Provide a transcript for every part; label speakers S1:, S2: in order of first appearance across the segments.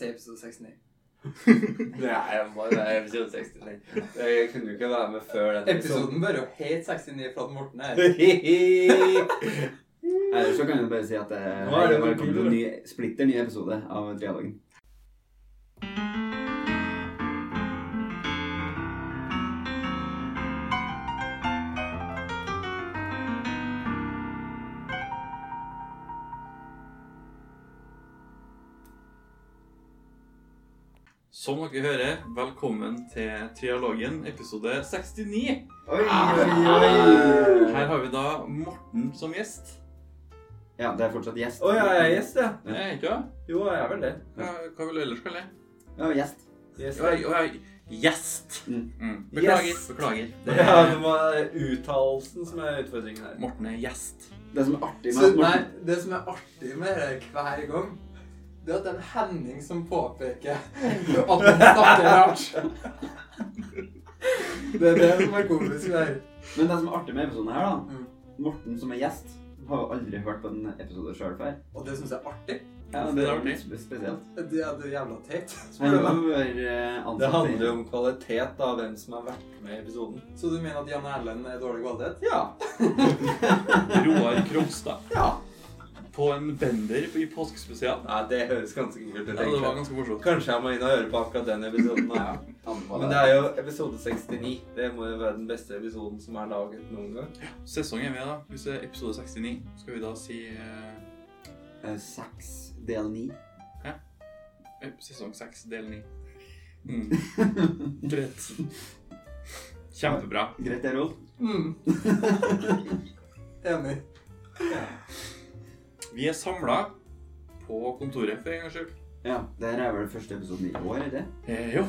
S1: til episode 69.
S2: Nei, jeg må være episode 69. Jeg kunne jo ikke være med før den
S1: Episoden bør jo helt 69 for at Morten er her.
S2: episoden.
S3: Eller så kan jeg bare si at eh,
S2: Nå er det
S3: hei, velkommen til en
S2: kulere.
S3: ny, splitter ny episode av Trialogen.
S4: Som dere hører, velkommen til Trialogen episode 69.
S3: Oi,
S1: Ah.
S4: Her har vi da Morten som gjest.
S3: Ja, det er fortsatt gjest.
S2: Å ja, jeg er gjest, ja.
S4: Er jeg Eh, ikke det?
S2: Jo, jeg er vel det.
S4: Hva hva vil du ellers kalle det?
S3: Ja, gjest.
S2: Gjest.
S4: Oi, oi, Gjest.
S3: Mm.
S4: Mm. Beklager.
S2: Yes.
S4: beklager. Det
S2: Ja,
S4: er,
S2: det var uttalelsen som er utfordringen her.
S4: Morten er gjest.
S3: Det som er artig med
S1: Så,
S3: at
S1: nei,
S3: Morten
S1: det som er artig med det her hver gang, det er at det er en Henning som påpeker at man snakker rart. Det er det som er komisk der.
S3: Men det som er artig med episoden her,
S1: Mm.
S3: da Morten som er gjest, har jo aldri hørt på en episode sjøl før.
S1: Og det syns jeg er artig.
S3: Ja,
S4: Det er artig.
S3: sp- spesielt.
S1: Det er, det er jævla teit.
S3: Han
S1: Spør du
S3: har
S1: meg.
S3: jo vært eh, ansatt
S2: Det handler jo
S3: i
S2: om kvalitet, da. Hvem som har vært med i episoden.
S1: Så du mener at Jan Erlend er dårlig kvalitet?
S2: Ja.
S4: Roar Krogstad.
S1: Ja.
S4: På en bender i påskespesial.
S2: Nei, det høres ganske kult ut.
S4: Ja, det var
S2: egentlig.
S4: ganske morsomt.
S2: Kanskje jeg må inn og høre på akkurat den episoden. da, Ja. Men det
S3: anbefaler.
S2: er jo episode 69. Det må jo være den beste episoden som er laget noen gang.
S4: Sesong er med, da. Hvis det er episode 69, skal vi da si eh,
S3: Eh, Seks del ni.
S4: eh, sesong 6, del 9. Mm. Greit. Kjempebra.
S3: Greit, det, Rolf.
S1: Mm. Enig.
S4: Vi er samla på kontoret for en gangs skyld.
S3: Ja, det her er vel første episoden i år, er det?
S4: Eh, jo,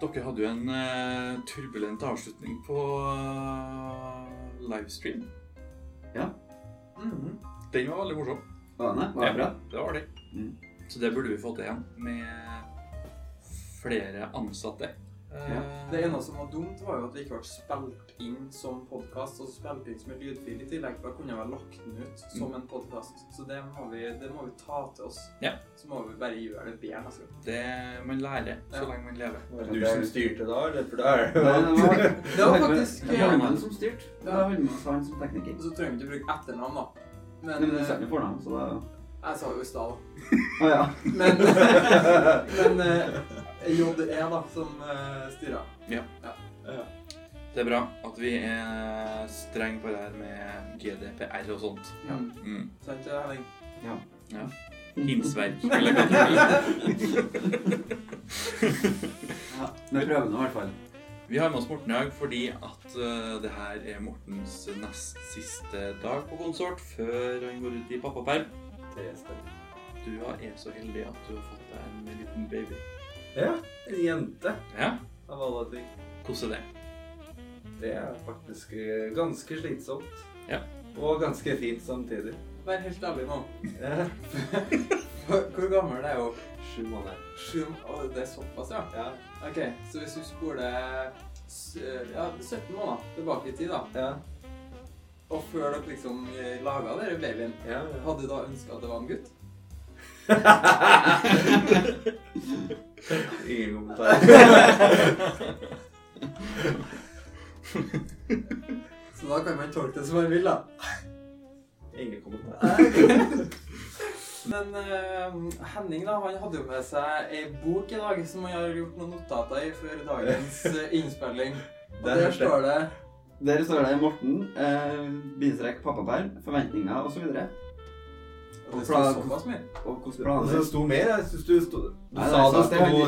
S4: dere hadde jo en eh, turbulent avslutning på eh, livestream.
S1: Mhm.
S4: Den var veldig morsom.
S3: Var det? Var det bra?
S4: Det var det.
S3: Mm.
S4: Så det burde vi fått igjen med flere ansatte. Eh,
S1: Det ene som var dumt, var jo at vi ikke ble spilt inn som podkast, og spilt inn som en lydfil i tillegg. For jeg kunne vel lagt den ut som en podkast. Så det må, vi, det må vi ta til oss.
S4: Ja.
S1: Så må vi bare gjøre det bedre altså. neste gang.
S4: det man lærer så
S1: Ja.
S4: lenge man lever.
S2: Var det du som styrte da, eller? For da er det
S3: Nei, det var-
S2: jo
S1: Det var faktisk
S3: Det var Holmen som styrte. Det var Holmen som var han som tekniker.
S1: Så trenger vi ikke bruke etternavn, da.
S3: Nei, men
S1: Men
S3: du sa
S1: eh,
S3: jo fornavn, så da
S1: Jeg sa jo i stad òg.
S3: Å ja.
S1: Men, men eh, JE, da, som eh, styrer.
S4: Det er bra at vi er strenge på det her med GDPR og sånt.
S1: Ja.
S4: Mm.
S1: Sant, Henning?
S4: Hinsverk. Eller hva det heter.
S3: ja. Men prøv nå, i hvert fall.
S4: Vi har med oss Morten i dag fordi at eh, det her er Mortens nest siste dag på konsort før han går ut i pappaperm. Du ja, er så heldig at du har fått deg en liten baby.
S2: Ja. En jente,
S4: Ja,
S2: av alle ting.
S4: hvordan er det?
S2: Det er faktisk eh, ganske slitsomt.
S4: Ja.
S2: Og ganske fint samtidig.
S1: Vær helt ærlig nå.
S2: Eh,
S1: Hvor gammel er hun?
S2: Sju måneder.
S1: Sju Å, Det er såpass, ja?
S2: Ja.
S1: Ok, så hvis du spoler s- ja, 17 måneder tilbake i tid, da,
S2: Ja.
S1: og før dere liksom laga denne babyen,
S2: ja.
S1: hadde du da ønska at det var en gutt?
S2: Ingen kommentarer.
S1: Så da kan man tolke det som man vil, da.
S2: Ingen kommentarer.
S1: Men eh, Henning da, han hadde jo med seg ei bok i dag som han har gjort noen notater i før dagens eh, innspilling. Og
S2: Der
S1: der,
S2: hørte jeg.
S1: står det
S3: Der står det Morten, eh, bindestrek pappaperm, forventninger osv.
S1: Og det står såpass mye.
S3: Og hvordan
S2: Og så
S3: planer
S2: sto mer. Jeg synes du sto Du
S3: Nei,
S2: sa
S3: nei,
S2: det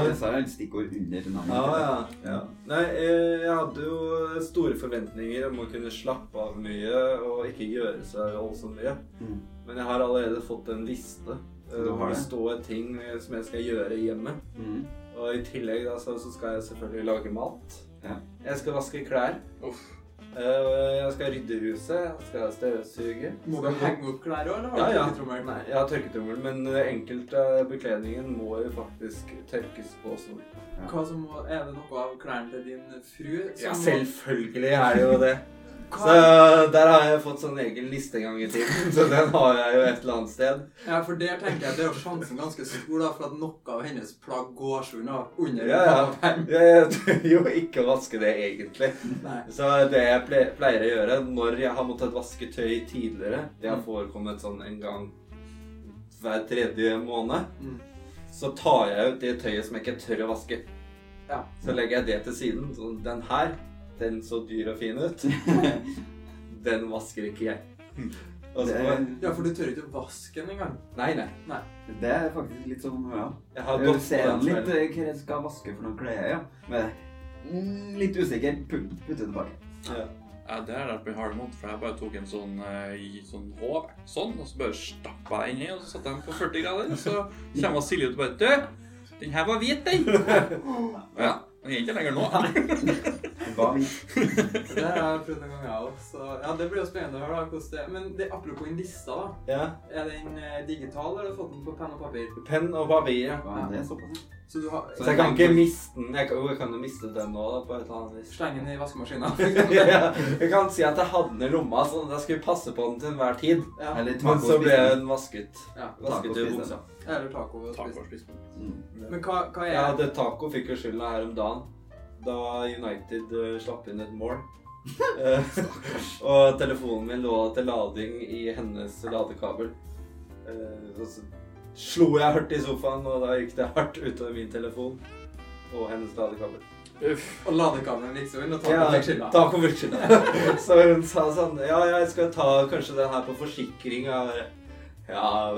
S3: så
S2: sto
S3: er et stikkord under navnet.
S2: Ja, ja. ja. Nei, eh, jeg hadde jo store forventninger om å kunne slappe av mye og ikke gjøre seg voldsomt mye.
S3: Mm.
S2: Men jeg har allerede fått en liste eh,
S3: Du har
S2: hvor det
S3: det?
S2: står ting eh, som jeg skal gjøre hjemme.
S3: Mm.
S2: Og i tillegg da, så, så skal jeg selvfølgelig lage mat.
S3: Ja.
S2: Jeg skal vaske klær.
S4: Uff.
S2: Eh, Jeg skal rydde huset. Jeg skal støvsuge.
S1: Må du henge opp klær òg, eller?
S2: Ja, ja.
S1: Nei,
S2: Nei, jeg har tørketrommel, men eh, enkelte av bekledningen må jo faktisk tørkes på også.
S1: Hva som må, Er det noe av klærne til din fru som
S2: Ja, selvfølgelig er det jo det. Så der har jeg fått sånn egen liste en gang i tiden, så den har jeg jo et eller annet sted.
S1: Ja, for der tenker jeg at det er jo sjansen ganske stor da, for at noe av hennes plagg går seg unna under
S2: Ja, ja.
S1: pappaperm.
S2: Jeg tør jo ikke å vaske det, egentlig.
S1: Nei.
S2: Så det jeg ple- pleier å gjøre når jeg har måttet vaske tøy tidligere Det
S3: Mm.
S2: har forekommet sånn en gang hver tredje måned.
S1: Mm.
S2: Så tar jeg ut det tøyet som jeg ikke tør å vaske.
S1: Ja.
S2: Så legger jeg det til siden. Så den her, den så dyr og fin ut, den vasker ikke jeg. Og så,
S3: Mm. Det,
S1: ja, for du tør ikke å vaske den engang.
S2: nei, nei.
S3: det er faktisk litt sånn ja.
S2: Jeg har
S3: Du
S2: gått på
S3: ser
S2: den
S3: han litt
S2: smellen.
S3: eh, hva jeg skal vaske for noen klær, ja. Men, mm, litt usikker. Pu- Putte tilbake.
S2: Ja.
S4: Ja, det har lært meg hard mot, for jeg bare tok en sånn, eh, i sånn håv, sånn, og så bare stappa jeg den i, og så satte jeg den på 40 grader, og så kommer Silje ut og bare Du, den her var hvit, den! Ja. Den er ikke lenger nå.
S3: Hva vi
S1: Det har jeg prøvd en gang, jeg òg. Så ja, det blir jo spennende å høre da, hvordan det Men det, apropos den lista, da.
S2: Ja.
S1: Er den eh, digital, eller har du fått den på penn og papir?
S2: Penn og papir. ja.
S3: hva er det såpass?
S1: Så du har
S2: Så jeg kan ikke miste den. Jeg kan, jo, jeg kan jo miste den nå, da, på et eller annet vis.
S1: slengen i vaskemaskina.
S2: Ja, jeg kan si at jeg hadde den i lomma, så jeg skulle passe på den til enhver tid.
S1: ja.
S3: Eller
S2: Men så ble
S3: tacospisen.
S2: den vasket.
S1: Ja.
S2: Vasket i
S3: Tacospisen.
S2: buksa.
S1: Eller taco. og
S4: Takk
S1: spise.
S4: for spissen.
S3: Mm.
S1: Men hva, hva er
S2: Ja, det taco fikk jo skylda her om dagen. Da United eh, slapp inn et mål. Eh, og telefonen min lå til lading i hennes ladekabel. Eh, og så slo jeg hardt i sofaen, og da gikk det hardt utover min telefon og hennes ladekabel.
S4: Uff.
S1: Og ladekabelen gikk så inn, og
S2: Ja,
S1: liksom tacoen fikk skylda.
S2: ta på skylda. Så hun sa sånn Ja, jeg skal ta kanskje den her på forsikring. Og jeg bare, ja.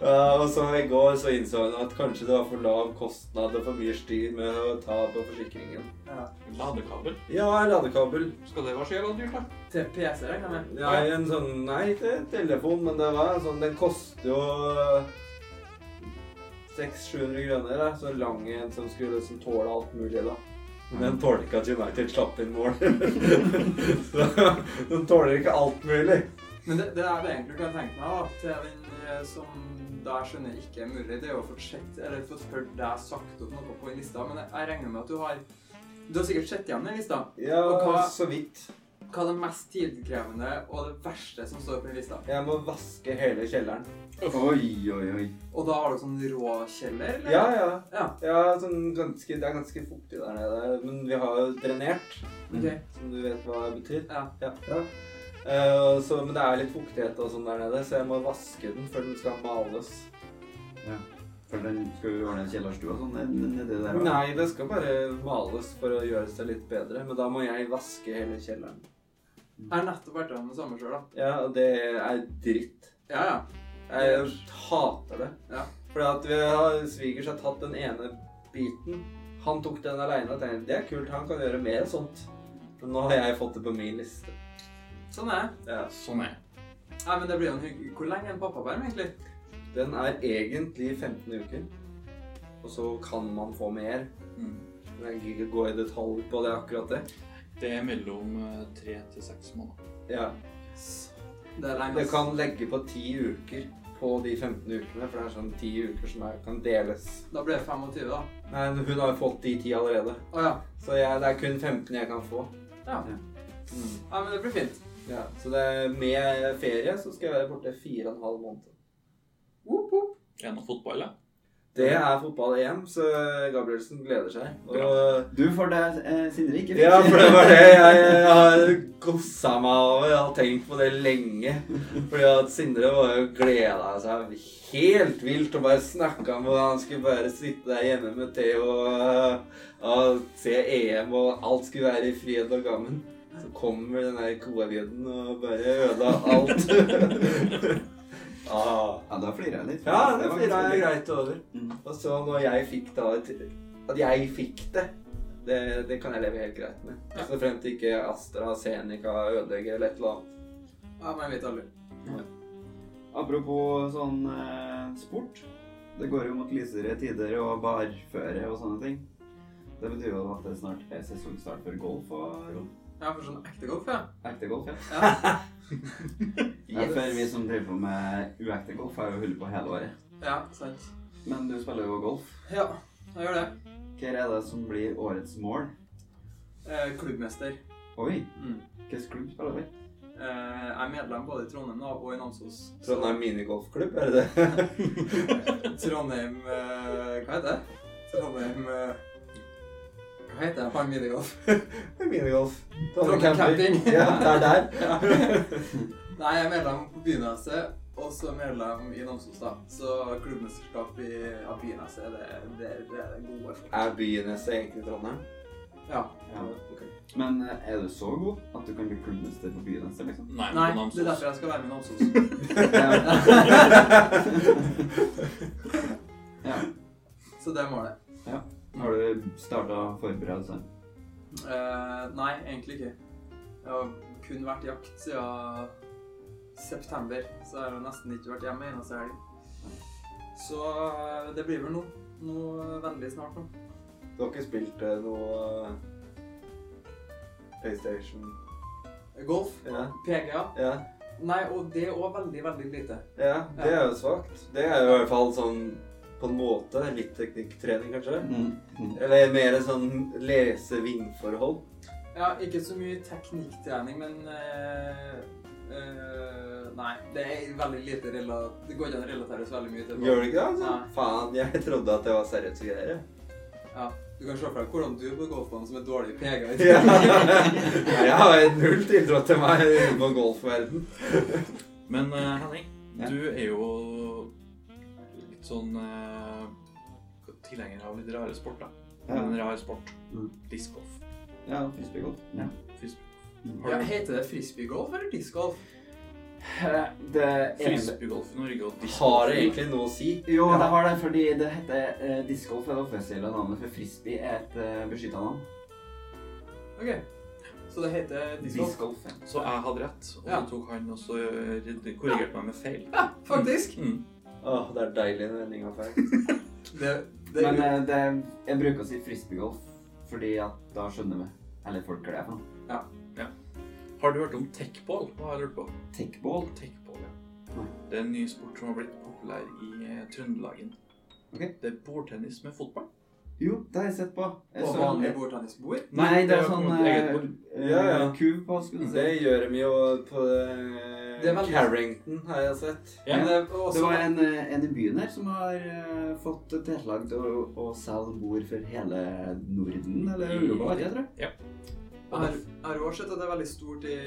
S2: ja Og så i går så innså hun at kanskje det var for lav kostnad og for mye styr med å ta på forsikringen.
S1: Ja.
S4: Ladekabel?
S2: Ja, ladekabel.
S4: Skal det være så jævla dyrt, da?
S1: Til PC, regner jeg med.
S2: Ja, en sånn Nei, det er telefon, men det var sånn Den koster jo eh, 600-700 kroner. Da. Så lang en som skulle liksom tåle alt mulig, da. Men den tåler ikke at United slapp inn mål. så den tåler ikke alt mulig.
S1: Men det, det er det egentlig kan tenke meg, da, til den eh, som da jeg skjønner ikke er mulig, det er jo å få sjekket, eller fått hørt deg sagt opp noe på en lista, men jeg, jeg regner med at du har Du har sikkert sett igjen den lista.
S2: Ja,
S1: Og hva-
S2: så vidt.
S1: Hva er det mest tidkrevende og det verste som står på den lista?
S2: Jeg må vaske hele kjelleren.
S3: Oi, oi, oi.
S1: Og da har du sånn råkjeller, eller?
S2: Ja, ja.
S1: Ja.
S2: sånn ganske, det er ganske fuktig der nede. Men vi har jo drenert,
S3: Mm.
S1: Ok.
S2: som du vet hva det betyr.
S1: Ja.
S2: Ja. Eh, så, men det er litt fuktighet og sånn der nede, så jeg må vaske den før den skal males.
S3: For den skal jo ordne en kjellerstua og sånn. Det, det, det der.
S2: Nei, det skal bare males for å gjøre seg litt bedre, men da må jeg vaske hele kjelleren.
S1: Jeg har nettopp vært gjennom det samme sjøl, da.
S2: Ja, og det er dritt.
S1: Ja, ja.
S2: Jeg hater det.
S1: Ja.
S2: Fordi at vi har svigers har tatt den ene biten. Han tok den aleine og tenkte det er kult, han kan gjøre mer sånt. Men nå har jeg fått det på min liste.
S1: Sånn er det.
S2: Ja.
S4: Sånn er det.
S1: Nei, men det blir jo en hygg... Hvor lenge er en pappaperm, egentlig?
S2: Den er egentlig 15 uker, og så kan man få mer. Men Jeg gidder ikke gå i detalj på det akkurat det.
S4: Det er mellom eh, tre til seks måneder.
S2: Ja.
S1: Det er lenge.
S2: Det kan legge på ti uker på de 15 ukene, for det er sånn ti uker som er, kan deles.
S1: Da blir det 25, da.
S2: Nei, hun har jo fått de ti allerede,
S1: Å ja.
S2: så jeg, det er kun 15 jeg kan få.
S1: Ja. Mm. ja. Men det blir fint.
S2: Ja, så det er med ferie så skal jeg være borte fire og en halv måned.
S1: Whoop, whoop.
S4: Gjennom fotball, ja.
S2: Det er fotball-EM, så Gabrielsen gleder seg. Og,
S3: Du får det, eh, Sindre. Ikke
S2: ja, for det var det jeg, eh, jeg har gossa meg over. Jeg har tenkt på det lenge. Fordi at Sindre var jo gleda seg helt vilt og bare snakka om at han skulle bare sitte der hjemme med te og, øh, og se EM, og alt skulle være i fred og gammen. Så kommer den der covid-en og bare ødela alt. ah.
S3: Ja, da flirer jeg litt.
S2: Ja, det
S3: var
S2: fira
S3: ganske
S2: jeg
S3: gøy.
S2: greit over.
S3: Mm.
S2: Og så når jeg fikk da et, At jeg fikk det, det, det kan jeg leve helt greit med. Så frem til ikke Astra Zeneca ødelegger eller et eller annet.
S1: Ja, men jeg vet aldri.
S3: Apropos sånn eh, sport. Det går jo mot lysere tider og barføre og sånne ting. Det betyr jo at det snart er sesongstart for golf og rom.
S1: Ja, for sånn ekte golf, ja.
S3: Ekte golf, ja. ja.
S2: Yes.
S3: For vi som driver på med uekte golf, har jo holdt på hele året.
S1: Ja, sant.
S3: Men du spiller jo golf.
S1: Ja, jeg gjør det.
S3: Hva er det som blir årets mål?
S1: Eh, klubbmester.
S3: Oi,
S1: Mm.
S3: hvilken klubb spiller du?
S1: Eh, jeg er medlem både i Trondheim da, og i Namsos. Så
S2: Trondheim minigolfklubb, er det det?
S1: Trondheim eh, Hva heter det? Trondheim eh, Hva heter det? Han minigolf.
S2: Det er Minigolf.
S1: Trondheim camping.
S2: Ja, det er der.
S1: Ja. Nei, jeg er medlem på Byneset, og så medlem i Namsos, da. Så klubbmesterskap i ja, Byneset, det, det, det er det gode. folk.
S2: Er byneset egentlig Trondheim?
S1: Ja.
S3: Ja. Men eh, er du så god at du kan bli klubbmester på byen neste, liksom?
S4: Nei,
S1: Nei,
S4: men
S1: det er
S4: Namsos.
S1: derfor jeg skal være med i Namsos.
S3: Ja. ja.
S1: Så det er målet.
S3: Har du starta forberedelse?
S1: Eh, nei, egentlig ikke. Jeg har kun vært i jakt siden september, så jeg har nesten ikke vært hjemme eneste helg. Så eh, det blir vel nå. Noe vennlig snart nå.
S2: Du har ikke spilt eh, noe eh, PlayStation?
S1: Golf,
S2: Ja.
S1: PGA.
S2: ja.
S1: Nei, og det òg veldig, veldig lite.
S2: Ja, det er jo svakt. Det er jo i hvert fall sånn på en måte litt teknikktrening, kanskje. Eller mer sånn lese-vindforhold.
S1: Ja, ikke så mye teknikktrening, men eh, eh, Nei, det er veldig lite rela... Det går ikke an å relatere så veldig mye til
S2: Gjør det ikke det? altså?
S1: Nei.
S2: Faen, jeg trodde at det var seriøse greier. jeg.
S1: Ja, Du kan se for deg hvordan du er på golfbanen som er dårlig i PGA.
S2: Ja. Jeg har null tiltro til meg på golfverden.
S4: Men eh, Henning,
S3: Ja.
S4: du er jo litt sånn eh, tilhenger av litt rare sporter. En
S3: Ja,
S4: rar sport.
S3: Mm.
S4: Discgolf.
S3: ja frisbeegolf. Ja.
S4: Fris-
S3: Mm.
S4: Har
S1: Ja,
S4: du-
S1: heter det frisbeegolf eller discgolf?
S3: Det
S4: Frisbeegolf i Norge og
S2: Har
S4: discgolf
S2: det
S4: i
S2: egentlig noe å si?
S3: Jo, det har det, fordi det heter eh, discgolf er det offisielle navnet, for frisbee er et eh, beskytta navn.
S1: Ok, så det heter discgolf?
S3: Discgolf. ja.
S4: Så jeg hadde rett, og
S1: Ja.
S4: så tok han og så eh, korrigerte meg med feil.
S1: Ja, faktisk.
S4: Mm.
S2: Åh, det er deilig når vendinga er feil.
S1: Det, det,
S3: Men eh, det, jeg bruker å si frisbeegolf fordi at da skjønner vi. Eller folk gleder seg.
S4: Mm. Har du hørt om techball? Hva har jeg lurt på?
S3: Techball?
S4: Techball, ja.
S3: Nei.
S4: Det er en ny sport som har blitt populær i eh, Trøndelagen.
S3: Ok.
S4: Det er bordtennis med fotball.
S3: Jo, det har jeg sett på. Jeg
S1: på
S3: eh, så-
S1: vanlig bordtennisbord?
S3: Nei, det er
S4: har
S3: sånn
S4: kommet et eget
S3: eh,
S4: bord.
S3: eh,
S2: Ja, ja.
S3: kub på, skulle du si.
S2: Det gjør de jo på
S1: Det er
S2: eh,
S1: veldig-
S2: Carrington, har jeg sett.
S4: Ja.
S1: Men det, var også,
S3: Det var en, eh, en i byen her som har eh, fått tilrettelagt å, å selge bord for hele Norden, eller Europa, vet jeg, tror jeg.
S1: jeg har- jeg har også sett at det er veldig stort i,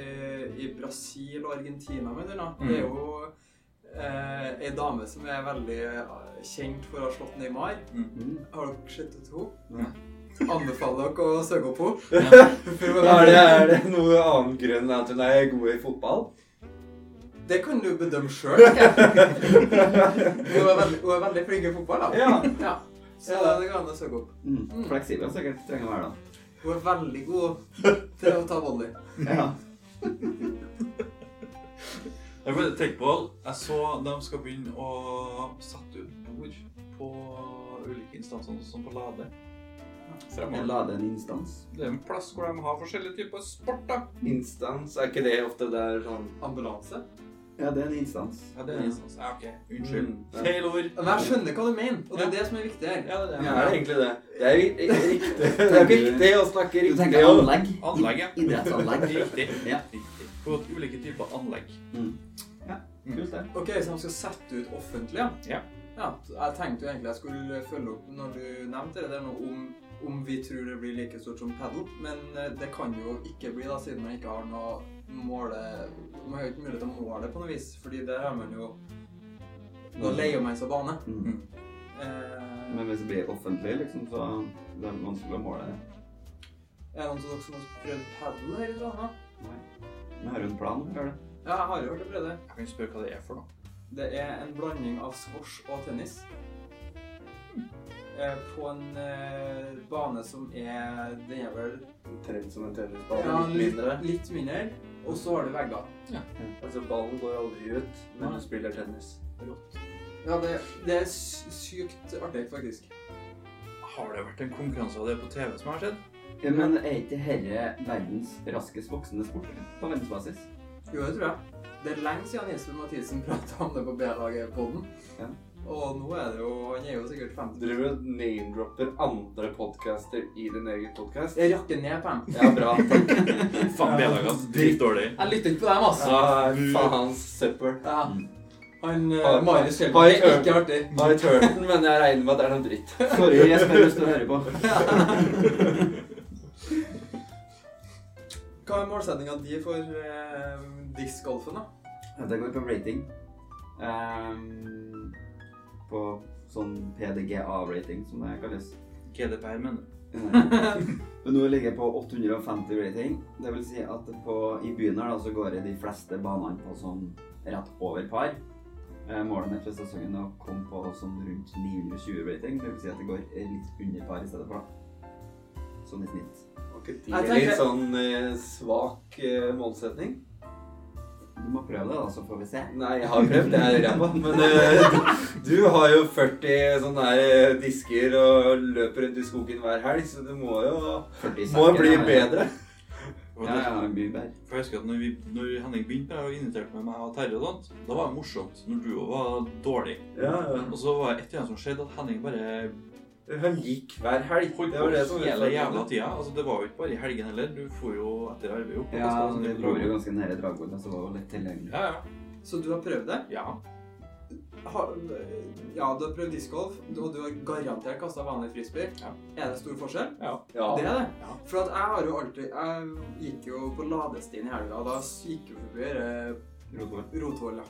S1: i Brasil og Argentina. Men
S4: Mm.
S1: det er jo eh, ei dame som er veldig eh, kjent for å ha slått Neymar.
S3: Mm.
S1: Har dere sett henne til
S3: Nei.
S1: henne? Anbefaler dere å søke opp henne. For hun
S2: Er
S1: er
S2: det,
S1: veldig-
S2: er det noe annen grunn enn at hun er god i fotball?
S1: Det kan du bedømme sjøl. Hun, er veldig- hun er veldig flink i fotball, da.
S2: Ja.
S1: Ja. Så det går an å søke opp.
S3: Mm.
S1: Mm.
S3: Fleksibel sikkert trenger å være, da.
S1: Hun er veldig god til å ta volley.
S3: Ja.
S4: Jeg bare tenker på Jeg så de skal begynne å sette ut bord på ulike instanser, sånn som på Lade.
S3: Jeg
S4: Fremover.
S3: la det en instans.
S4: Det er en plass hvor de har forskjellige typer sport, da.
S2: Instans, er ikke det ofte det er sånn
S1: Ambulanse?
S3: Ja, det er en instans.
S4: Ja, det er en instans. Ja, ok. Unnskyld.
S2: Mm, ja.
S4: Feil ord.
S1: Men jeg skjønner hva du mener, og det
S4: Ja.
S1: er det som er viktig her.
S4: Ja, det
S2: Ja,
S4: er det.
S2: er det egentlig det? Det er vi- i- riktig. Det er viktig å snakke
S3: Du
S2: riktig.
S3: tenker
S2: og-
S3: anlegg?
S4: Anlegg, ja.
S3: I- Idrettsanlegg.
S4: Riktig.
S3: Ja.
S4: Riktig. På ulike typer anlegg.
S3: Mm. Ja, kult det.
S1: Ok, Så de skal sette ut offentlig,
S4: Ja.
S1: ja? Jeg tenkte jo egentlig jeg skulle følge opp når du nevnte det der nå om, om vi tror det blir like stort som padel, men eh, det kan jo ikke bli, da, siden man ikke har noe måle... Man har jo ikke mulighet til å måle det på noe vis, fordi der har man jo Nå leier man seg bane.
S3: Mm.
S1: Eh,
S3: Men hvis det blir offentlig, liksom, så det er vanskelig å måle det.
S1: er det noen av dere som har prøvd padel her i Trondheim?
S3: Vi har jo en plan for det.
S1: Ja, jeg har jo hørt å prøve det.
S4: Jeg kan spørre hva det er for noe.
S1: Det er en blanding av squash og tennis. Eh, På en eh, bane som er Den er vel
S2: Trent som en
S1: ja,
S2: tennisball, litt
S1: litt,
S2: mindre.
S1: litt mindre. Og så har du vegger.
S2: Altså, ballen går aldri ut, men du spiller tennis.
S1: Ja, det, det er sy- sykt artig, faktisk.
S4: Har det vært en konkurranse av det på TV som jeg har sett?
S3: Ja, men er ikke herre verdens raskest voksende sport eller? på verdensbasis?
S1: Jo, det tror jeg. Det er lenge siden Jesper Mathisen prata om det på B-laget-poden.
S3: Ja.
S1: Og nå er det jo Han er jo sikkert 50
S2: Driver og name-dropper andre podcaster i din egen podcast?
S1: Jeg rakker ned på dem.
S2: Ja, bra. Takk.
S4: Faen, Belag, ass. Dritdårlig.
S1: Jeg lytter ikke på dem, altså.
S2: Ja, faen søppel.
S1: Ja. Han
S2: Har-
S1: eh, Marius
S2: har
S1: Kjellberg
S2: jeg
S1: er
S2: øvd?
S1: ikke artig.
S2: Har jeg hørt den, men jeg regner med at det er noe dritt.
S3: Sorry, Jesper, hvis du hører på.
S1: Hva er målsettinga di for eh, discgolfen, da?
S3: Det går på rating. Ehm, på sånn PDGA-rating, som det kalles.
S4: GDPR, men
S3: Men nå ligger jeg på 850 rating. Det vil si at på, i byen her da, så går jeg de fleste banene på sånn rett over par. Eh, Målet mitt for sesongen er å komme på sånn rundt 920 rating. Det vil si at det går litt under par i stedet for, da. Sånn i snitt.
S2: Var ikke
S1: Jeg
S2: det
S1: tenker-
S2: litt sånn eh, svak eh, målsetning?
S3: Du må prøve det, da, så får vi se.
S2: Nei, jeg har prøvd. Jeg er ræva. Men eh, du har jo 40 sånne her eh, disker og løper rundt i skogen hver helg, så du må jo må jo bli bedre.
S4: Og
S3: Ja,
S4: det-
S3: ja, mye bedre.
S4: For jeg husker at når, vi, når Henning begynte med det og inviterte med meg og Terje og sånt, da var det morsomt når du også var dårlig.
S2: Ja, ja.
S4: Og så var det et eller annet som skjedde, at Henning bare
S2: Han gikk hver helg.
S4: holdt
S2: Det var det
S4: på
S2: som
S4: hele jævla
S2: utfordret.
S4: tida. Altså, det var jo ikke bare i helgen heller. Du for jo etter arbeid opp. og
S3: Ja,
S4: kastet sånn
S3: vi
S4: i
S3: bor jo
S4: dragen.
S3: ganske nære Dragvoll, så det var jo altså, lett tilgjengelig.
S4: Ja,
S1: Så du har prøvd det?
S4: ja. ja.
S1: Har, ja, du har prøvd discgolf, og du har garantert kasta vanlig frisbee.
S4: Ja.
S1: Er det stor forskjell?
S2: Ja.
S1: Det er det.
S4: Ja.
S1: For at jeg har jo alltid Jeg gikk jo på ladestien i helga, og da gikk jo forbi eh,
S3: Rotvål.
S1: Rotvoll, ja.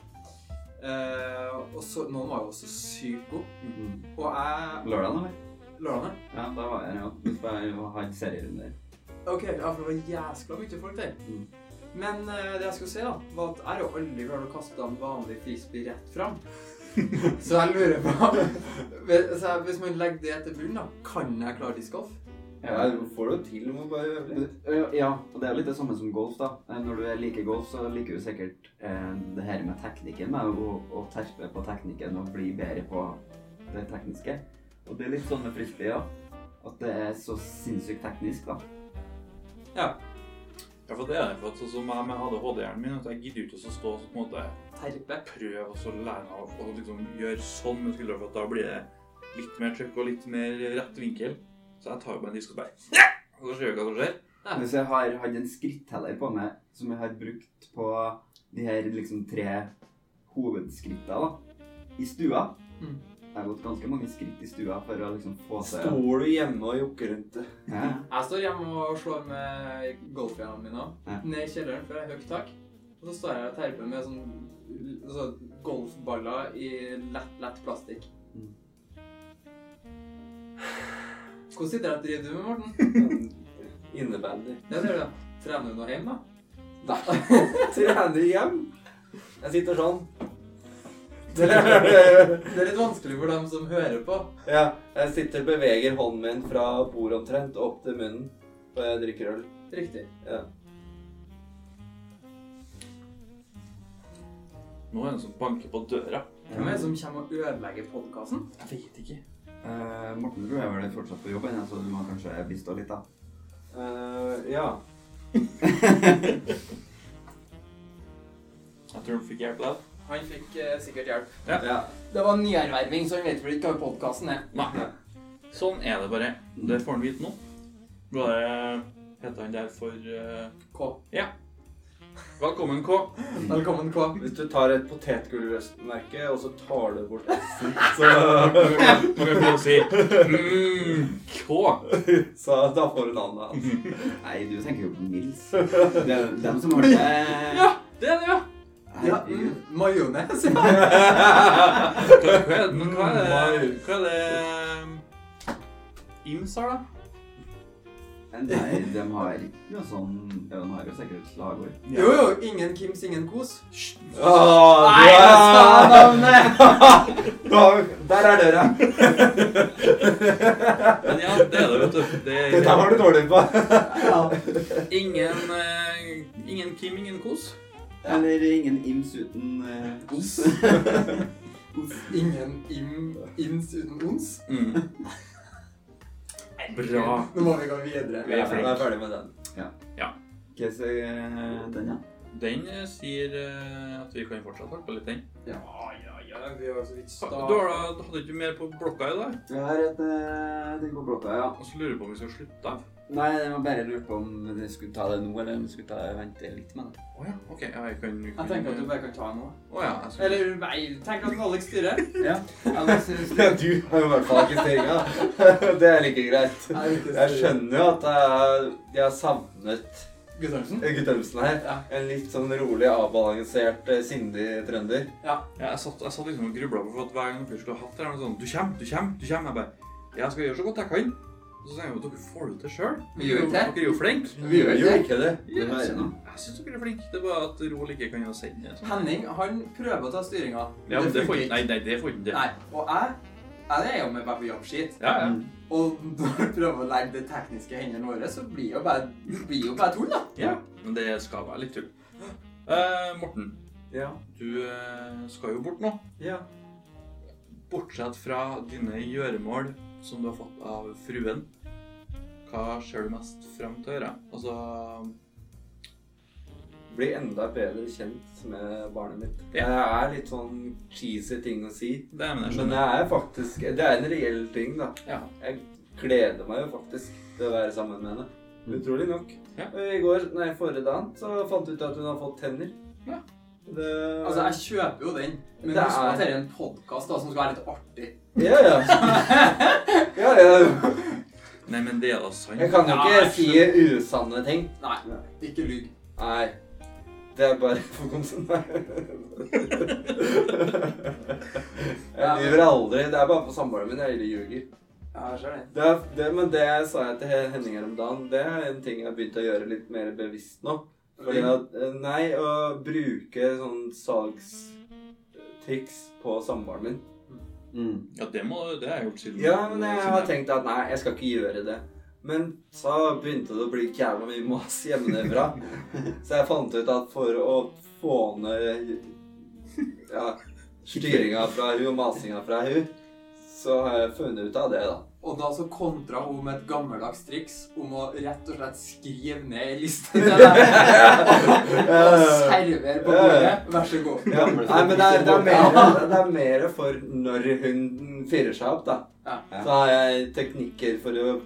S1: Eh, og så, noen var jo så sykt gode.
S3: Mhm.
S1: Og jeg
S3: Lørdagen, eller?
S1: Lørdagen?
S3: Ja, da var jeg ja. Hvis jeg hadde serierunder.
S1: Ok, ja, for det var jæskla mye folk der.
S3: Mm.
S1: Men eh, det jeg skulle si, da, var at jeg har jo aldri klart å kaste en vanlig frisbee rett fram. så jeg lurer på Hvis- så jeg- Hvis man legger det til bunnen, da, kan jeg klare discgolf?
S2: Ja, du får det jo til med å bare øve litt.
S3: Ja, og det er jo litt det samme som golf, da. Eh, Når du liker golf, så liker du sikkert eh, det her med teknikken, med å, å terpe på teknikken og bli bedre på det tekniske. Og det er litt sånn med frisbee, ja. At det er så sinnssykt teknisk, da.
S4: Ja, for det er det. For at sånn som jeg med ADHD-hjernen min, at jeg gidder ikke å stå og på en måte
S1: Terpe.
S4: prøve og så lære meg å- å liksom gjøre sånn med skuldra, for at da blir det litt mer trykk og litt mer rett vinkel. Så jeg tar jo bare en disk og bare Og så ser vi hva som skjer.
S1: Ja.
S3: Hvis jeg har hatt en skritteller på meg som jeg har brukt på de her liksom tre hovedskrittene da, i stua
S1: Mm.
S3: Jeg har gått ganske mange skritt i stua for å liksom få til
S2: Står du hjemme og jokker rundt det?
S3: ja.
S1: Jeg står hjemme og slår med golfjernene mine
S3: Ja.
S1: ned i kjelleren, for det er høyt tak. Og så står jeg og terper med sånn så golfballer i lett, lett plastikk.
S3: Mm.
S1: Hvordan idrett driver du med, Morten?
S2: Innebandy.
S1: Ja, det gjør det. Trener du noe hjemme, da?
S2: Trener hjem. Jeg sitter sånn. ja,
S1: Det er litt vanskelig for dem som hører på.
S2: jeg sitter og beveger hånden min fra bordet omtrent opp til munnen. Og jeg drikker øl.
S1: Riktig.
S2: Ja.
S4: Nå er det en som banker på døra.
S1: Hvem er det som kommer og ødelegger podkasten?
S4: Jeg vet ikke.
S3: Eh, Morten tror jeg vel er fortsatt på jobb ennå, så du må kanskje bistå litt, da.
S2: Eh, ja.
S4: Jeg tror han fikk hjelp der.
S1: Han fikk eh, sikkert hjelp.
S2: ja.
S1: Det var nyerverving, så han vet vel ikke hva podkasten er.
S4: Nei. Sånn er det bare. Det får han vite nå. Bare heter han der for eh,
S1: K.
S4: Velkommen, K.
S1: Velkommen, K.
S2: Hvis du tar et potetgullrøstmerke, og så tar du bort S-en, så,
S4: Man eh, kan prøve å si mm, K.
S2: så da får du navnet hans.
S3: Nei, du tenker jo på Nils. Det er jo dem som har det
S1: Ja, det er det, ja. ja mm,
S3: Herregud.
S1: Majones. ja.
S4: Hva hva er det Hva er det, hva er det eh, Ims har, da?
S3: Nei, de har ikke noe sånn Ja, de har jo sikkert et slagord.
S1: Jo, jo. Ingen Kims, ingen kos.
S2: Åh,
S1: Nei, jeg sa navnet!
S2: Der er døra.
S4: Men ja, det er det, vet du. Det er,
S2: Dette var du dårlig på.
S4: Ingen, eh, ingen Kim, ingen kos.
S3: Eller ingen ims uten eh, os.
S1: Ingen im, ins uten ons.
S4: Bra.
S1: Nå må vi gå videre.
S2: Vi er ferdig med den.
S3: Hva sier den, da?
S4: Den eh, sier eh, at vi kan fortsatt holde på litt, den.
S1: Ja, ja, ja, vi har jo så vidt
S4: Du,
S1: start.
S4: har da, du hadde ikke mer på blokka i dag?
S3: Jeg har et eh, ting på blokka, ja.
S4: Og så lurer jeg på om vi skal slutte av?
S3: Nei, jeg var bare lurt på om vi skulle ta det nå, eller om vi skulle ta vente litt med det.
S4: Å ja, ok. Ja, jeg kan
S1: Jeg tenker at du bare kan ta noe.
S4: Å ja. Jeg skal...
S1: Eller nei, tenk at Alex styrer.
S3: Ja. Alex,
S2: Ja, du har jo i hvert fall ikke styringa. Det er like greit. Jeg skjønner jo at jeg, jeg har savnet
S1: Guttormsen?
S2: Guttormsen her.
S1: Ja.
S2: En litt sånn rolig, avbalansert, eh, sindig trønder.
S4: Ja, jeg, satt, jeg satt liksom og grubla på for at hver gang dere skulle ha hatt det, var det sånn Du kommer, du kommer, du kommer. Jeg bare Jeg skal gjøre så godt jeg kan. Og så tenker jeg jo dere får det til sjøl.
S1: Vi gjør jo det.
S4: Dere er jo flinke.
S1: Vi gjør
S2: jo
S1: det.
S2: ikke det.
S3: det er bare noe.
S4: Jeg syns dere er flinke. Det er bare at Roald ikke kan sende sånn.
S1: Henning han prøver å ta styringa.
S4: Ja, men det får
S1: funker
S4: ikke Nei, nei, det får ikke det.
S1: Nei. Og jeg jeg er jo med bare på jobbskit.
S4: Ja, ja.
S1: Og når du prøver å legge det tekniske i hendene våre, så blir jo bare, blir jo bare tull, da.
S4: ja. Men det skal være litt tull. Eh, Morten,
S2: Ja.
S4: du eh, skal jo bort nå.
S2: Ja.
S4: Bortsett fra dine gjøremål som du har fått av fruen, hva ser du mest frem til å gjøre? Altså
S2: Bli enda bedre kjent med barnet mitt. Det
S4: Ja.
S2: er litt sånn cheesy ting å si.
S4: Det er men jeg
S2: Men
S4: skjønner.
S2: det er faktisk Det er en reell ting, da.
S4: Ja.
S2: Jeg gleder meg jo faktisk til å være sammen med henne.
S3: Mm.
S2: Utrolig nok.
S4: Ja.
S2: I går, nei, forrige dagen, så fant jeg ut at hun har fått tenner.
S4: Ja.
S2: Det
S1: Altså, jeg kjøper jo den, men
S2: Det
S1: husk at
S2: er-
S1: dette er en podkast som skal være litt artig.
S2: Ja, ja. ja, ja.
S4: Nei, men det er da sant.
S2: Jeg kan jo
S1: Ja,
S2: ikke
S1: jeg
S2: si usanne ting.
S1: Nei, ikke lyg.
S2: Nei. Det er bare for konsentrasjon.
S1: Ja, men-
S2: Jeg lyver aldri. Det er bare på samboeren min jeg ljuger.
S1: Ja, jeg ser det.
S2: Det, er- det, men det sa jeg til Henning her om dagen, det er en ting jeg har begynt å gjøre litt mer bevisst nå. Fordi at, eh, nei, å bruke sånn salgstriks på samboeren min.
S3: Mm.
S4: Ja, det, må, det har jeg gjort siden
S2: Ja, men jeg
S4: siden
S2: har tenkt at nei, jeg skal ikke gjøre det. Men så begynte det å bli jævla mye mas hjemmefra. Så jeg fant ut at for å få ned ja, styringa fra hun og masinga fra hun, så har jeg funnet ut av det, da.
S1: Og da så kontra hun med et gammeldags triks om å rett og slett skrive ned ei liste til deg. Og servere på bordet. Vær så god.
S2: Ja, nei, men det er, det, er mer, det er mer for når hun firer seg opp, da.
S1: Ja.
S2: Så har jeg teknikker for å roe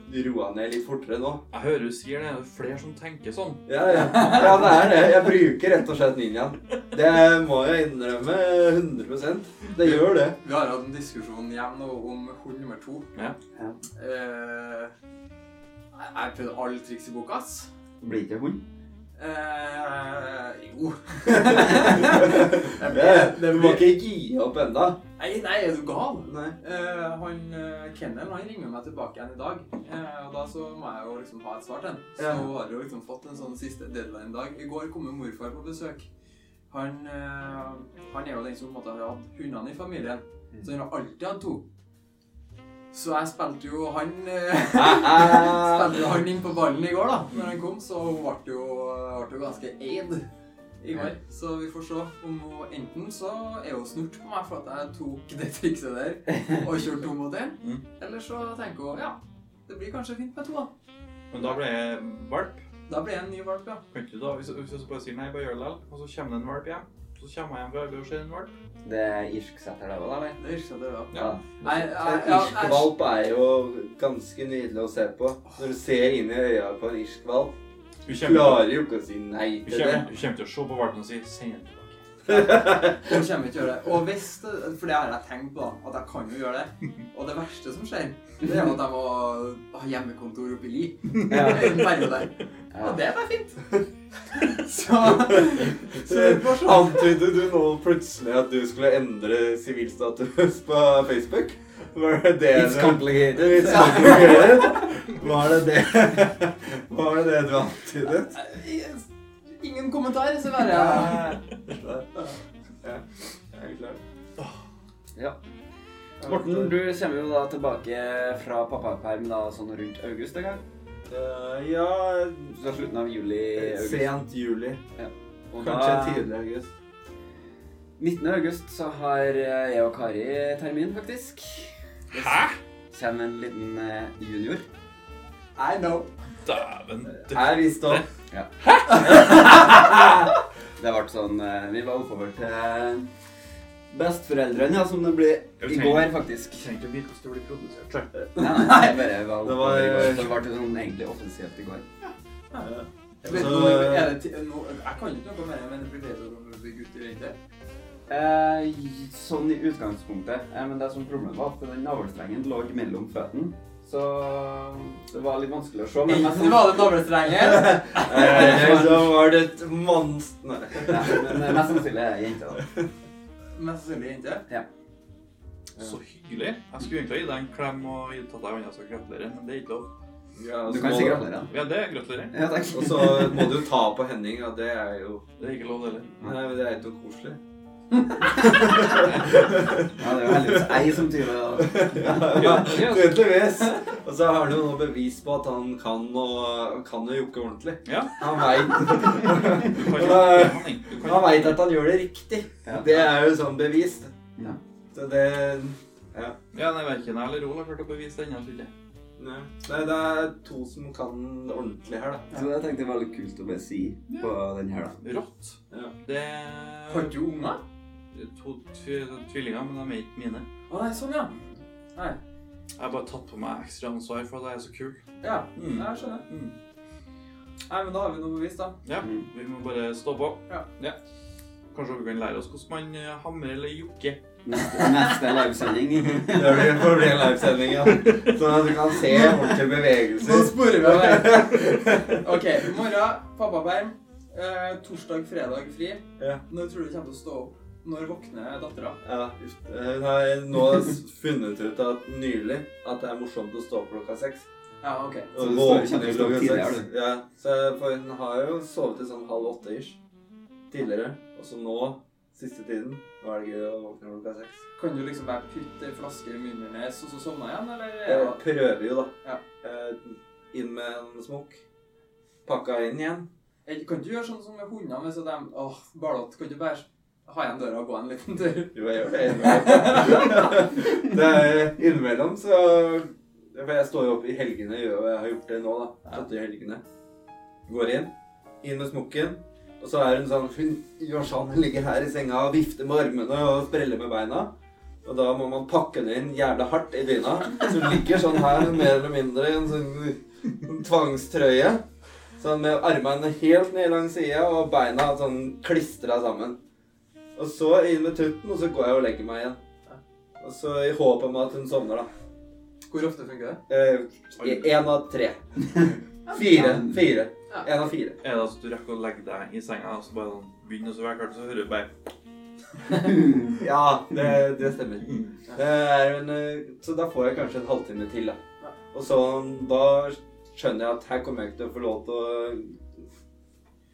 S2: henne ned litt fortere nå.
S4: Jeg hører du sier det. Det er flere som tenker sånn.
S2: Ja, ja. ja, det er det. Jeg bruker rett og slett ninjaen. Det må jeg innrømme 100 Det gjør det.
S1: Vi har hatt en diskusjon hjemme nå om hund nummer to.
S4: Ja.
S3: Ja.
S1: Eh, jeg jeg prøvde alle triks i boka, ass.
S3: Blir ikke hund?
S1: Eh, jo.
S2: det, det du må ikke gi opp ennå.
S1: Nei, nei, er du gal?
S2: Nei.
S1: Eh, han, eh, Kennel han ringer meg tilbake igjen i dag, eh, og da så må jeg jo liksom ha et svar til han. Så
S2: Ja.
S1: nå har jeg jo liksom fått en sånn siste deadline-dag. I går kom jo morfar på besøk. Han, eh, han er jo den som på en måte har hatt hundene i familien, så han har alltid hatt to. Så jeg spilte jo han eh,
S2: Ah,
S1: spilte jo Eh, han inn på ballen i går, da. Når han kom, så hun ble jo, eh, ble jo ganske eid i går. Så vi får se om hun Enten så er hun snurt på meg for at jeg tok det trikset der og kjørte to mot én,
S4: Mm.
S1: eller så tenker hun ja, det blir kanskje fint med to, da.
S4: Men da ble jeg valp.
S1: Da blir jeg en ny valp, ja.
S4: Kan ikke du da, hvis, hvis jeg bare sier nei, bare gjør det likevel, og så kommer det en valp hjem, så kommer jeg hjem fra arbeid og ser en valp
S3: Det er irsk setter det òg, da, eller?
S1: Det virker som det er bra.
S4: Ja.
S1: Nei, jeg-
S2: En
S1: ja,
S2: irsk
S1: jeg-
S2: valp er jo ganske nydelig å se på. Når du ser inn i øya på en irsk valp,
S4: Hun kommer,
S2: klarer jo ikke å si nei
S4: hun
S2: til det.
S4: kommer, hun kommer til å se på valpen og si send den tilbake.
S1: Hun kommer ikke til å gjøre det. Og hvis det, For det har jeg tenkt på, da, at jeg kan jo gjøre det. Og det verste som skjer, det er jo at jeg må ha hjemmekontor oppe i Li. En periode.
S3: Ja.
S1: Og det er bare fint. Så, så vi får se.
S2: Antydet du nå plutselig at du skulle endre sivilstatus på Facebook? Var det det
S3: It's
S2: du-
S3: complicated.
S2: It's complicated. Var det det Var det det du antydet?
S1: Ingen kommentar, så bare jeg
S3: Ja. Morten, du kommer jo da tilbake fra pappaperm da sånn rundt august en gang.
S2: Eh, Ja
S3: Så slutten av juli-august.
S2: Sent juli.
S3: Og
S2: Kanskje
S3: da,
S2: tidlig august.
S3: 19. august så har eh, jeg og Kari termin, faktisk.
S4: Hæ?
S3: Kommer en liten eh, junior.
S1: I know.
S4: Dæven.
S2: Eh, Jeg visste om.
S3: Ja.
S4: Hæ?
S3: Det ble sånn eh, Vi var oppover til besteforeldrene, ja, som det ble i går, faktisk.
S4: trenger ikke å vite hvordan det blir produsert.
S3: Nei, nei, det bare var
S2: Det var-
S3: oppover i går. så Det ble sånn egentlig offisielt i går.
S1: Vet du,
S2: Så-
S1: er det ti- nå, jeg kan ikke noe mer, men det blir bedre om det blir gutter og jenter.
S3: Eh, sånn i utgangspunktet. Eh, men det som problemet var at den navlestrengen lå mellom føttene. Så det var litt vanskelig å se. Men
S1: Enten var det dobbeltstrengen
S2: Eh, Så var det et monster Nei.
S3: Nei, men eh, mest sannsynlig er det jente, da.
S1: Mest sannsynlig jente.
S4: Så hyggelig. Jeg skulle egentlig ha gitt deg en klem og gitt- tatt deg i hånda og gratulere, men det er ikke lov.
S3: Du kan si gratulerer.
S4: Ja, det er gratulerer.
S3: Ja, takk.
S2: Og så må du ta på Henning, og det er jo
S4: Det er ikke lov, det heller.
S2: Nei, men det er ikke noe koselig.
S3: Ja, det er jo heldigvis ei som tyr det. da.
S2: Ja, Tydeligvis. Og så har han jo nå bevis på at han kan å, kan å jokke ordentlig.
S4: Ja.
S2: Han veit
S4: Du kan
S2: Men,
S4: ikke
S2: eh,
S4: Henning, du kan
S2: han
S4: ikke-
S2: vet at han gjør det riktig.
S3: Ja.
S2: Det er jo sånn bevist.
S3: Ja.
S2: Så det
S4: Ja, nei, verken jeg eller Roald har klart å bevise det ennå, tror jeg.
S2: Nei, Nei, det er to som kan ordentlig her, da.
S3: Så det tenkte jeg var litt kult å bare si på den her, da.
S4: Rått.
S2: Ja.
S4: Det
S1: Har du unger?
S4: er to tvi- tvillinger, men de er ikke mine.
S1: Å nei, sånn ja. Nei.
S4: Jeg har bare tatt på meg ekstra ansvar for at jeg er så kul.
S1: Ja,
S4: Mm.
S1: jeg skjønner.
S4: Mm.
S1: Nei, men da har vi noe bevis, da.
S4: Ja,
S3: Mm.
S4: vi må bare stå på.
S1: Ja.
S4: Kanskje vi kan lære oss hvordan man eh, hamrer eller jokker.
S3: Neste, neste livesending.
S2: Det blir, det blir en livesending, ja. Sånn at du kan se ordentlige
S1: Nå
S2: bevegelser.
S1: sporer vi av deg. OK. Morgen, pappaperm. Eh, torsdag, fredag fri.
S2: Ja.
S1: Når tror du du kommer til å stå opp? Når våkner dattera?
S2: Ja, uff. Hun har nå funnet ut at nylig at det er morsomt å stå opp klokka seks.
S1: Ja, OK.
S3: Så
S2: Og
S3: du står-
S2: våkner
S3: kjenner du
S2: klokka
S3: står tidligere,
S2: seks. Ja, så, for hun har jo sovet til sånn halv åtte ish tidligere. Og så nå, siste tiden, velger hun å våkne klokka seks.
S1: Kan du liksom bare putte en flaske i munnen hennes, og så sovne igjen, eller? er
S2: Jeg
S1: det-
S2: Eh, prøver jo, da.
S1: Ja.
S2: Eh, Inn med en smokk. Pakka inn igjen.
S1: Eller Kan du gjøre sånn som med hundene? hvis de, åh, Barlott, kan du bare ha igjen døra og gå en liten tur?
S2: Jo, jeg gjør det innimellom. det er innimellom, så For jeg står jo opp i helgene, gjør jeg har gjort det nå, da. Satt i helgene. Går inn, inn med smokken. Og så er hun sånn Hun gjør sånn, hun ligger her i senga og vifter med armene og spreller med beina. Og da må man pakke henne inn jævla hardt i dyna. Så hun ligger sånn her mer eller mindre i en sånn tvangstrøye. Sånn med armene helt ned langs sida og beina sånn klistra sammen. Og så inn med tutten, og så går jeg og legger meg igjen. Og så i håp om at hun sovner, da.
S1: Hvor ofte funker det?
S2: Én av tre. Fire. Fire.
S1: Ja.
S2: Én av fire.
S4: Er det altså du rekker å legge deg i senga og så bare sånn begynner å sove, så hører du bare
S2: Ja, det, det stemmer. Det er en, eh, så da får jeg kanskje en halvtime til, da.
S1: Ja.
S2: Og så da skjønner jeg at her kommer jeg ikke til å få lov til å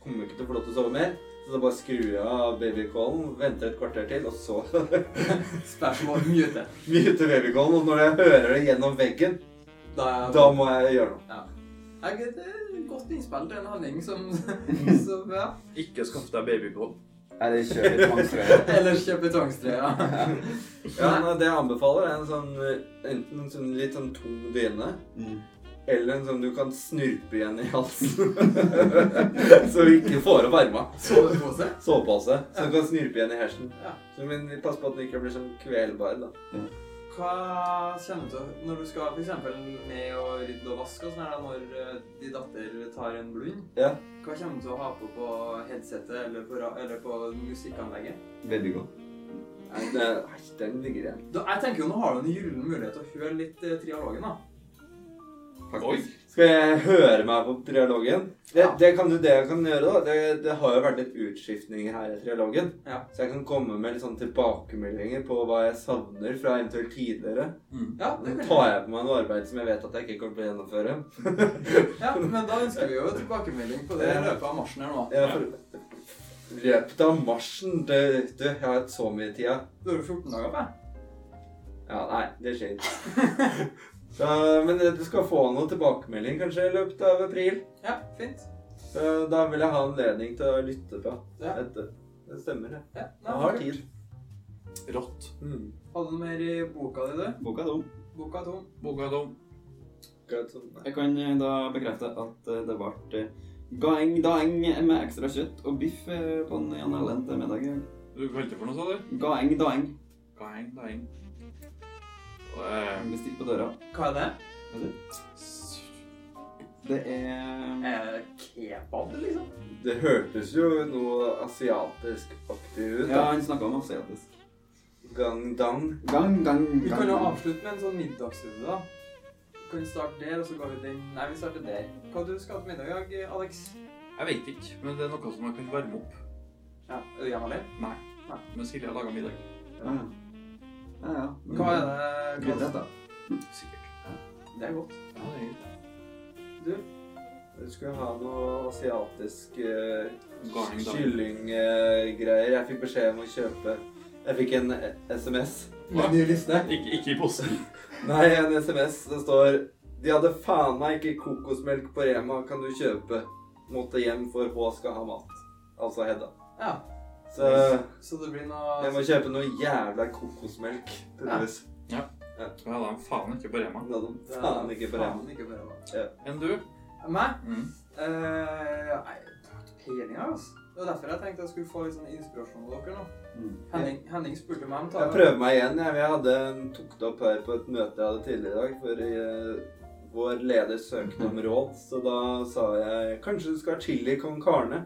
S2: Kommer jeg ikke til å få lov til å sove mer. Så da bare skrur jeg av babycallen, venter et kvarter til, og så
S1: Spørsmål mute.
S2: muter babycallen. Og når jeg hører det gjennom veggen,
S1: Da,
S2: da må jeg gjøre noe.
S1: Jeg, det er et godt innspill til en handling som, som ja.
S4: Ikke skaff deg babycall.
S3: Nei, det kjører litt tvangstrøye.
S1: Ellers kjøpe tvangstrøya.
S2: Ja, nei, eh, det jeg anbefaler er en sånn, eh, enten en sånn litt sånn tung dyne,
S3: Mm.
S2: eller en sånn du kan snurpe igjen i halsen. så du ikke får opp arma.
S1: Sovepose.
S2: Sovepose. Så du kan snurpe igjen i hersen.
S1: Ja.
S2: Så, men pass på at den ikke blir sånn kvelbar, da.
S1: Hva kjenner du til når du skal for eksempel ned og rydde og vaske og sånn her, da, når eh, din datter tar en blund?
S2: Ja.
S1: Hva kommer du til å ha på på headsetet eller på, ra- eller på musikkanlegget?
S3: Veldig godt.
S2: Nei, det, nei, den ligger igjen.
S1: Da, jeg tenker jo Nå har du en gyllen mulighet til å høre litt eh, trialogen, da.
S4: Oi.
S2: Skal jeg høre meg på trialogen? Det,
S1: Ja.
S2: det kan du det jeg kan gjøre, da. Det, det har jo vært litt utskiftninger her i trialogen.
S1: Ja.
S2: Så jeg kan komme med litt sånn tilbakemeldinger på hva jeg savner fra eventuelt tidligere.
S1: Ja,
S2: Nå
S1: det kan
S2: tar jeg på meg noe arbeid som jeg vet at jeg ikke kommer til å gjennomføre.
S1: jeg. ja, Men da ønsker vi jo tilbakemelding på det i løpet av marsjen her nå.
S2: Jeg får... Løpet av marsjen det, Du, jeg har hatt så mye tid. jeg.
S1: Da har du 14 dager på deg.
S2: Ja, nei, det skjer ikke. Så, men du skal få noe tilbakemelding kanskje i løpet av april.
S1: Ja, fint.
S2: Så da vil jeg ha anledning til å lytte på
S1: Ja.
S2: dette. Det stemmer, det.
S1: Ja, nei,
S2: Jeg har tid.
S4: Rått.
S2: Mm.
S1: Hadde du mer i boka di, du?
S3: Boka er dum.
S1: Boka er tom.
S4: Boka er dum.
S2: Akkurat sånn.
S3: Jeg kan eh, da bekrefte at eh, det ble eh, Gaeng daeng med ekstra kjøtt og biff eh, på en Jan Erlend til middag. i dag.
S4: Du kalte for noe, sa du?
S3: Gaeng daeng.
S4: Gaeng, daeng. Og, eh,
S3: Bestilt på døra.
S1: Hva er det?
S4: s-
S3: Det er
S1: Er det Eh, kebab, liksom?
S2: Det hørtes jo noe asiatisk-aktig ut.
S3: Ja,
S2: da.
S3: han snakka om asiatisk.
S2: Gang dang.
S3: Gang, gang, gang.
S1: Vi kan jo avslutte med en sånn middagsrunde, da. Vi kan starte der, og så går vi den Nei, vi starter der. Hva du skal til middag i dag, Alex?
S4: Jeg vet ikke, men det er noe som jeg kan varme opp.
S1: Ja, er du hjemme alene?
S4: Nei.
S1: Nei.
S4: Men Silje har laga middag.
S3: Ja, ja. ja.
S1: Hva er det
S3: Gryterett, da.
S4: Sikkert.
S1: Det er godt.
S4: Ja, det er greit.
S2: Jeg skulle ha noe asiatisk eh,
S4: Gaeng, daeng.
S2: kyllinggreier. Jeg fikk beskjed om å kjøpe Jeg fikk en SMS.
S4: Hva?
S1: Ny liste.
S4: Ikke, ikke i posen.
S2: Nei, en SMS. Det står De hadde faen meg ikke kokosmelk på Rema. Kan du kjøpe? Måtte hjem, for H skal ha mat. Altså Hedda.
S1: Ja,
S2: Så
S1: så det blir noe
S2: jeg må kjøpe noe jævla kokosmelk. Tydeligvis.
S4: Jeg hadde han faen ikke på Rema.
S2: Hun hadde faen ikke på Rema.
S1: Faen ikke på Rema.
S4: Enn du?
S1: Meg?
S4: Mm.
S1: Eh, nei, jeg har ikke peiling, altså. Det var derfor jeg tenkte jeg skulle få litt sånn inspirasjon av dere nå.
S3: Mm.
S1: Henning, Henning spurte meg om
S2: Jeg
S1: tale.
S2: prøver meg igjen. Jeg, jeg hadde tok det opp her på et møte jeg hadde tidligere i dag. For eh, vår leder søkte om råd, så da sa jeg kanskje du skal ha chili con carne.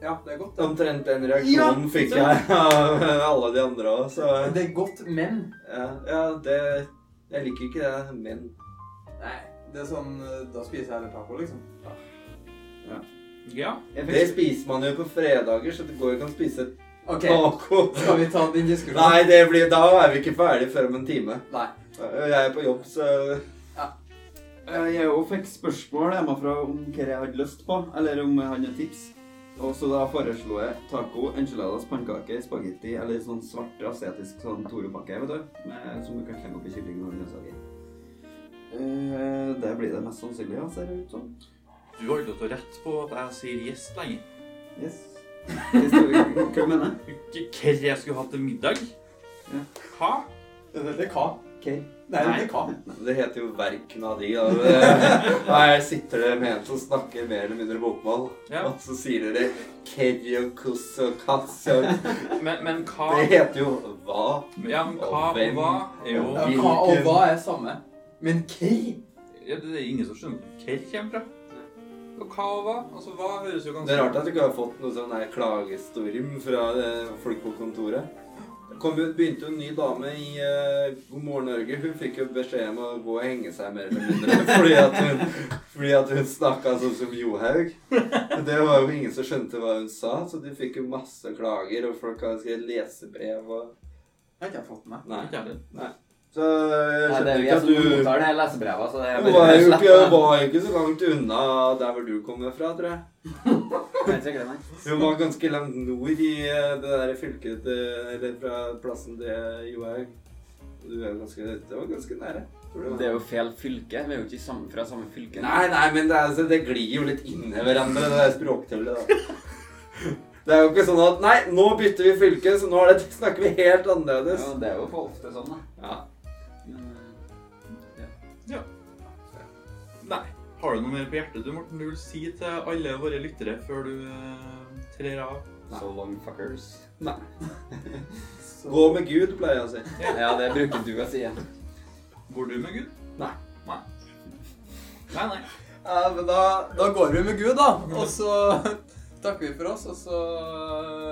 S1: Ja, det er godt.
S2: Omtrent den reaksjonen fikk jeg av alle de andre òg, så
S1: Det, det er godt, men
S2: ja, ja, det Jeg liker ikke det, men
S1: Nei, det er sånn eh, Da spiser jeg heller taco, liksom.
S4: Ja.
S3: Jeg
S2: Det
S3: fikk,
S2: spiser man jo på fredager, så det går jo ikke an å spise
S1: OK,
S2: taco.
S1: skal vi ta den diskusjonen?
S2: Nei, det blir, da er vi ikke ferdig før om en time.
S1: Nei.
S2: Jeg er på jobb, så
S3: Eh, jeg jeg jo fikk spørsmål hjemmefra om hva jeg hadde lyst på, eller om jeg hadde noen tips. Og så da foreslo jeg taco, enchiladas, pannekaker, spagetti eller sånn svart asiatisk sånn Toro-pakke, vet du. Med, som du kan klemme opp i kylling og grønnsaker. Eh, det blir det mest sannsynlig, ja, ser det ut som.
S4: Du har ikke lov til å rette på at jeg sier yes lenger.
S3: Yes. Hvis du- Hva mener jeg?
S4: Ikke hva jeg skulle hatt til middag.
S3: Ja.
S4: Hva?
S1: Det er hva?
S3: Okay.
S1: Nei, det
S4: Nei.
S1: er hva?
S2: Det heter jo verknadi. Her eh, sitter det med en som snakker mer eller mindre bokmål.
S4: Ja.
S2: Og så sier dere keriokus og kassio.
S4: Men, men hva?
S2: Det heter jo hva?
S4: Ja, men hva
S2: Og hvem?
S4: og hva? Jo.
S1: Ja,
S2: Hvilken-
S1: hva og hva er samme? Men hva?
S4: Ja, det er ingen som skjønner hvor Kerr kommer fra. Og hva og hva? Altså, hva høres jo ganske
S2: Det er rart at du ikke har fått noe sånn her klagestorm fra eh, folk på kontoret. Det kom jo, begynte jo en ny dame i eh, God morgen Norge. Hun fikk jo beskjed om å gå og henge seg mer eller mindre fordi at hun, fordi at hun snakka sånn som Johaug. Og Det var jo ingen som skjønte hva hun sa, så de fikk jo masse klager, og folk har skrevet lesebrev og
S1: Jeg har ikke fått med.
S2: Nei.
S4: Ikke heller.
S2: Så eh, jeg
S5: Nei, det er jo
S2: skjønner ikke
S5: jeg
S2: at
S5: som
S2: du
S5: mottar det lesebreva, så det er
S2: hun var jo ikke, var jo ikke så langt unna der hvor du kommer fra, tror jeg. Hun var ganske langt nord i eh, det der fylket eh, Eller fra plassen til Johaug. Du er jo ganske Det var ganske nære. tror du?
S5: Det er jo feil fylke. Vi er jo ikke samme, fra samme fylke.
S2: Nei, nei, men det, er, altså, det glir jo litt inn i hverandre, det der språktullet, da. Det er jo ikke sånn at Nei, nå bytter vi fylke, så nå er det, snakker vi helt annerledes.
S5: Ja, det er jo for ofte sånn, da.
S2: Ja.
S5: Men, eh,
S4: Nei. Har du noe mer på hjertet du, Morten, du vil si til alle våre lyttere før du eh, trer av?
S5: So long, fuckers.
S2: Gå med Gud, pleier jeg å si.
S5: Ja, det bruker du å si. ja.
S4: Går du med Gud?
S2: Nei.
S4: Nei, nei. nei.
S1: Ja, men da, da går vi med Gud, da. Og så takker vi for oss, og så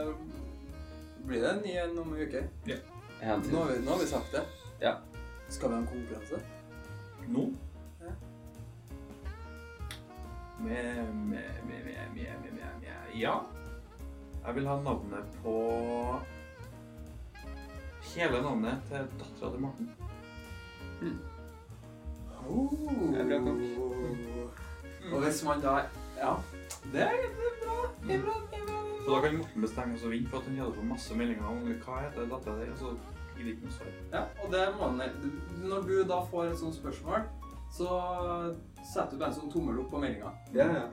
S1: eh, blir det en ny en om en uke.
S5: En
S1: Nå
S5: til.
S1: har vi, nå har vi sagt det.
S5: Ja.
S1: Skal vi ha en konkurranse?
S4: Nå?
S1: Ja.
S4: Med, med, med, med, med, med, med, med. Ja. Jeg vil ha navnet på Hele navnet til dattera til Morten.
S1: Oh.
S5: Det er bra, Kong.
S1: Og hvis man da Ja, det er bra. Det er bra. Det er bra.
S4: Så da kan Morten bestemme seg vinne for at han hadde fått masse meldinger om hva heter dattera di, og så gir det ikke noe svar.
S1: Ja, og det må den Når du da får et sånt spørsmål, så setter du bare en sånn tommel opp på meldinga.
S2: Ja, ja.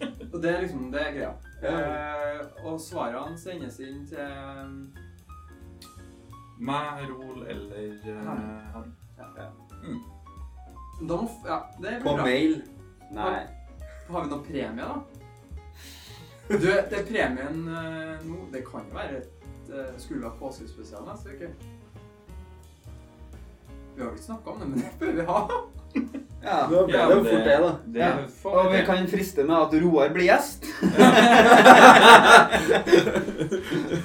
S1: Ja. Og det er liksom det er greia.
S2: Ja.
S1: Eh, og svarene sendes inn til eh,
S4: Meg, Rol eller eh,
S1: Han.
S4: han.
S1: Da må f- Ja, det blir
S2: På
S1: bra.
S2: mail.
S5: Nei.
S1: Har vi noen premie, da? Du, det er premien eh, nå Det kan jo være et eh, Skulle ha påskespesial neste uke. Vi har vel ikke snakka om det, men det bør vi ha.
S3: Ja.
S2: Da ble
S4: Ja,
S2: det jo
S4: men
S2: fort det, da.
S4: Det
S3: Ja.
S4: får
S3: Og
S4: vi
S3: vi
S4: til.
S3: kan friste med at Roar blir gjest.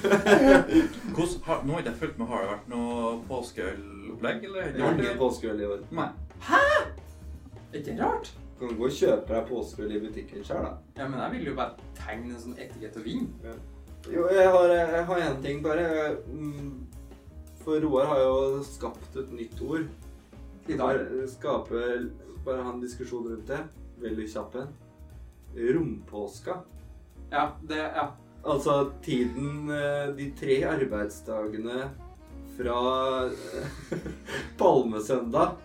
S4: Hvordan, har, nå har ikke jeg fulgt med. Har det vært noe påskeølopplegg, eller?
S2: Det var ikke påskeøl i år.
S4: Nei.
S1: Er ikke det rart?
S2: Du kan gå og kjøpe deg påskeøl i butikken sjøl, da.
S1: Ja, men jeg vil jo bare tegne en sånn etikett og vin.
S2: Jo, jeg har, jeg har en ting bare. Jeg, mm, For Roar har jo skapt et nytt ord.
S1: I dag.
S2: Bare Skaper bare ha en diskusjon rundt det. Veldig kjapp en. Rompåska.
S1: Ja, det Ja.
S2: Altså tiden eh, De tre arbeidsdagene fra eh, palmesøndag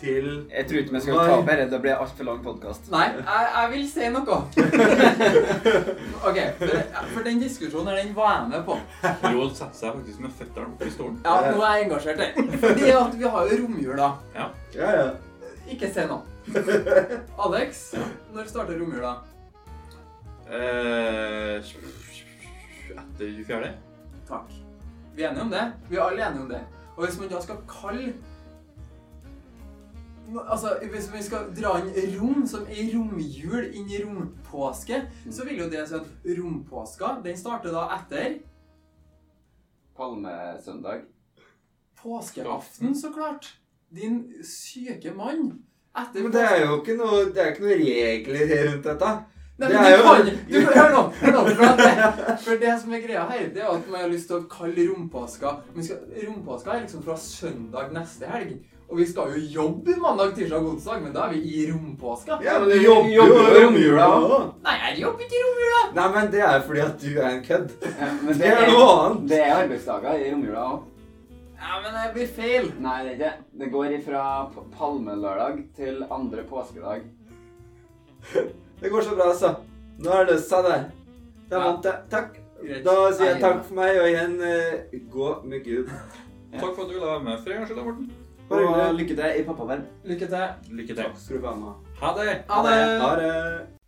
S2: til
S5: Jeg tror ikke vi skal ta opp dette. Det blir altfor lang podkast.
S1: Nei, jeg, jeg vil si noe. OK. For, for den diskusjonen her, den var jeg med på.
S4: Roald setter seg faktisk med føttene opp i stolen.
S1: Ja, nå er jeg engasjert her. Fordi at vi har jo romjula.
S2: Ja, ja.
S1: Ikke se nå. Alex, når starter romjula?
S4: Eh, etter 24.
S1: Takk. Vi er enige om det. Vi er alle enige om det. Og hvis man da skal kalle Nå- Altså, Hvis man skal dra inn rom som ei romjul inn i rompåske, så vil jo det si at rompåska den starter da etter
S5: Palmesøndag.
S1: påskeaften, så klart. Din syke mann. Etter
S2: Men det er jo ikke noe, det er ikke noe regler rundt dette.
S1: Nei,
S2: Det
S1: men
S2: er
S1: du
S2: jo-
S1: kan du, Hør nå! Hør nå for, at det, for det som er greia her, det er at man har lyst til å kalle rompåska men skal, Rompåska er liksom fra søndag neste helg. Og vi skal jo jobbe mandag, tirsdag og onsdag, men da er vi i rompåska.
S2: Ja, men du jobber jo
S5: Jobber jo romjula
S2: òg.
S1: Nei, jeg jobber ikke i romjula!
S2: Nei, men det er fordi at du er en kødd.
S5: Ja, men
S2: Det er noe annet.
S5: Det er arbeidsdager i romjula òg.
S1: Nei, men det blir feil.
S5: Nei, det er ikke det. Det går ifra p- palmelørdag til andre påskedag.
S2: Det går så bra, altså. Nå er det løst seg, det. Det er
S1: Ja.
S2: vant, det. Takk.
S1: Greit.
S2: Da sier jeg
S5: Nei,
S2: takk
S5: ja.
S2: for meg, og igjen eh, gå med Gud.
S4: Takk for at du ville være med for en gangs skyld, da, Morten.
S2: Bare
S5: Og
S2: hyggelig.
S5: lykke til i pappaverv.
S1: Lykke til.
S4: Lykke til.
S2: Takk skal du ha med.
S4: Ha det!
S1: Ha det.
S2: Ha det.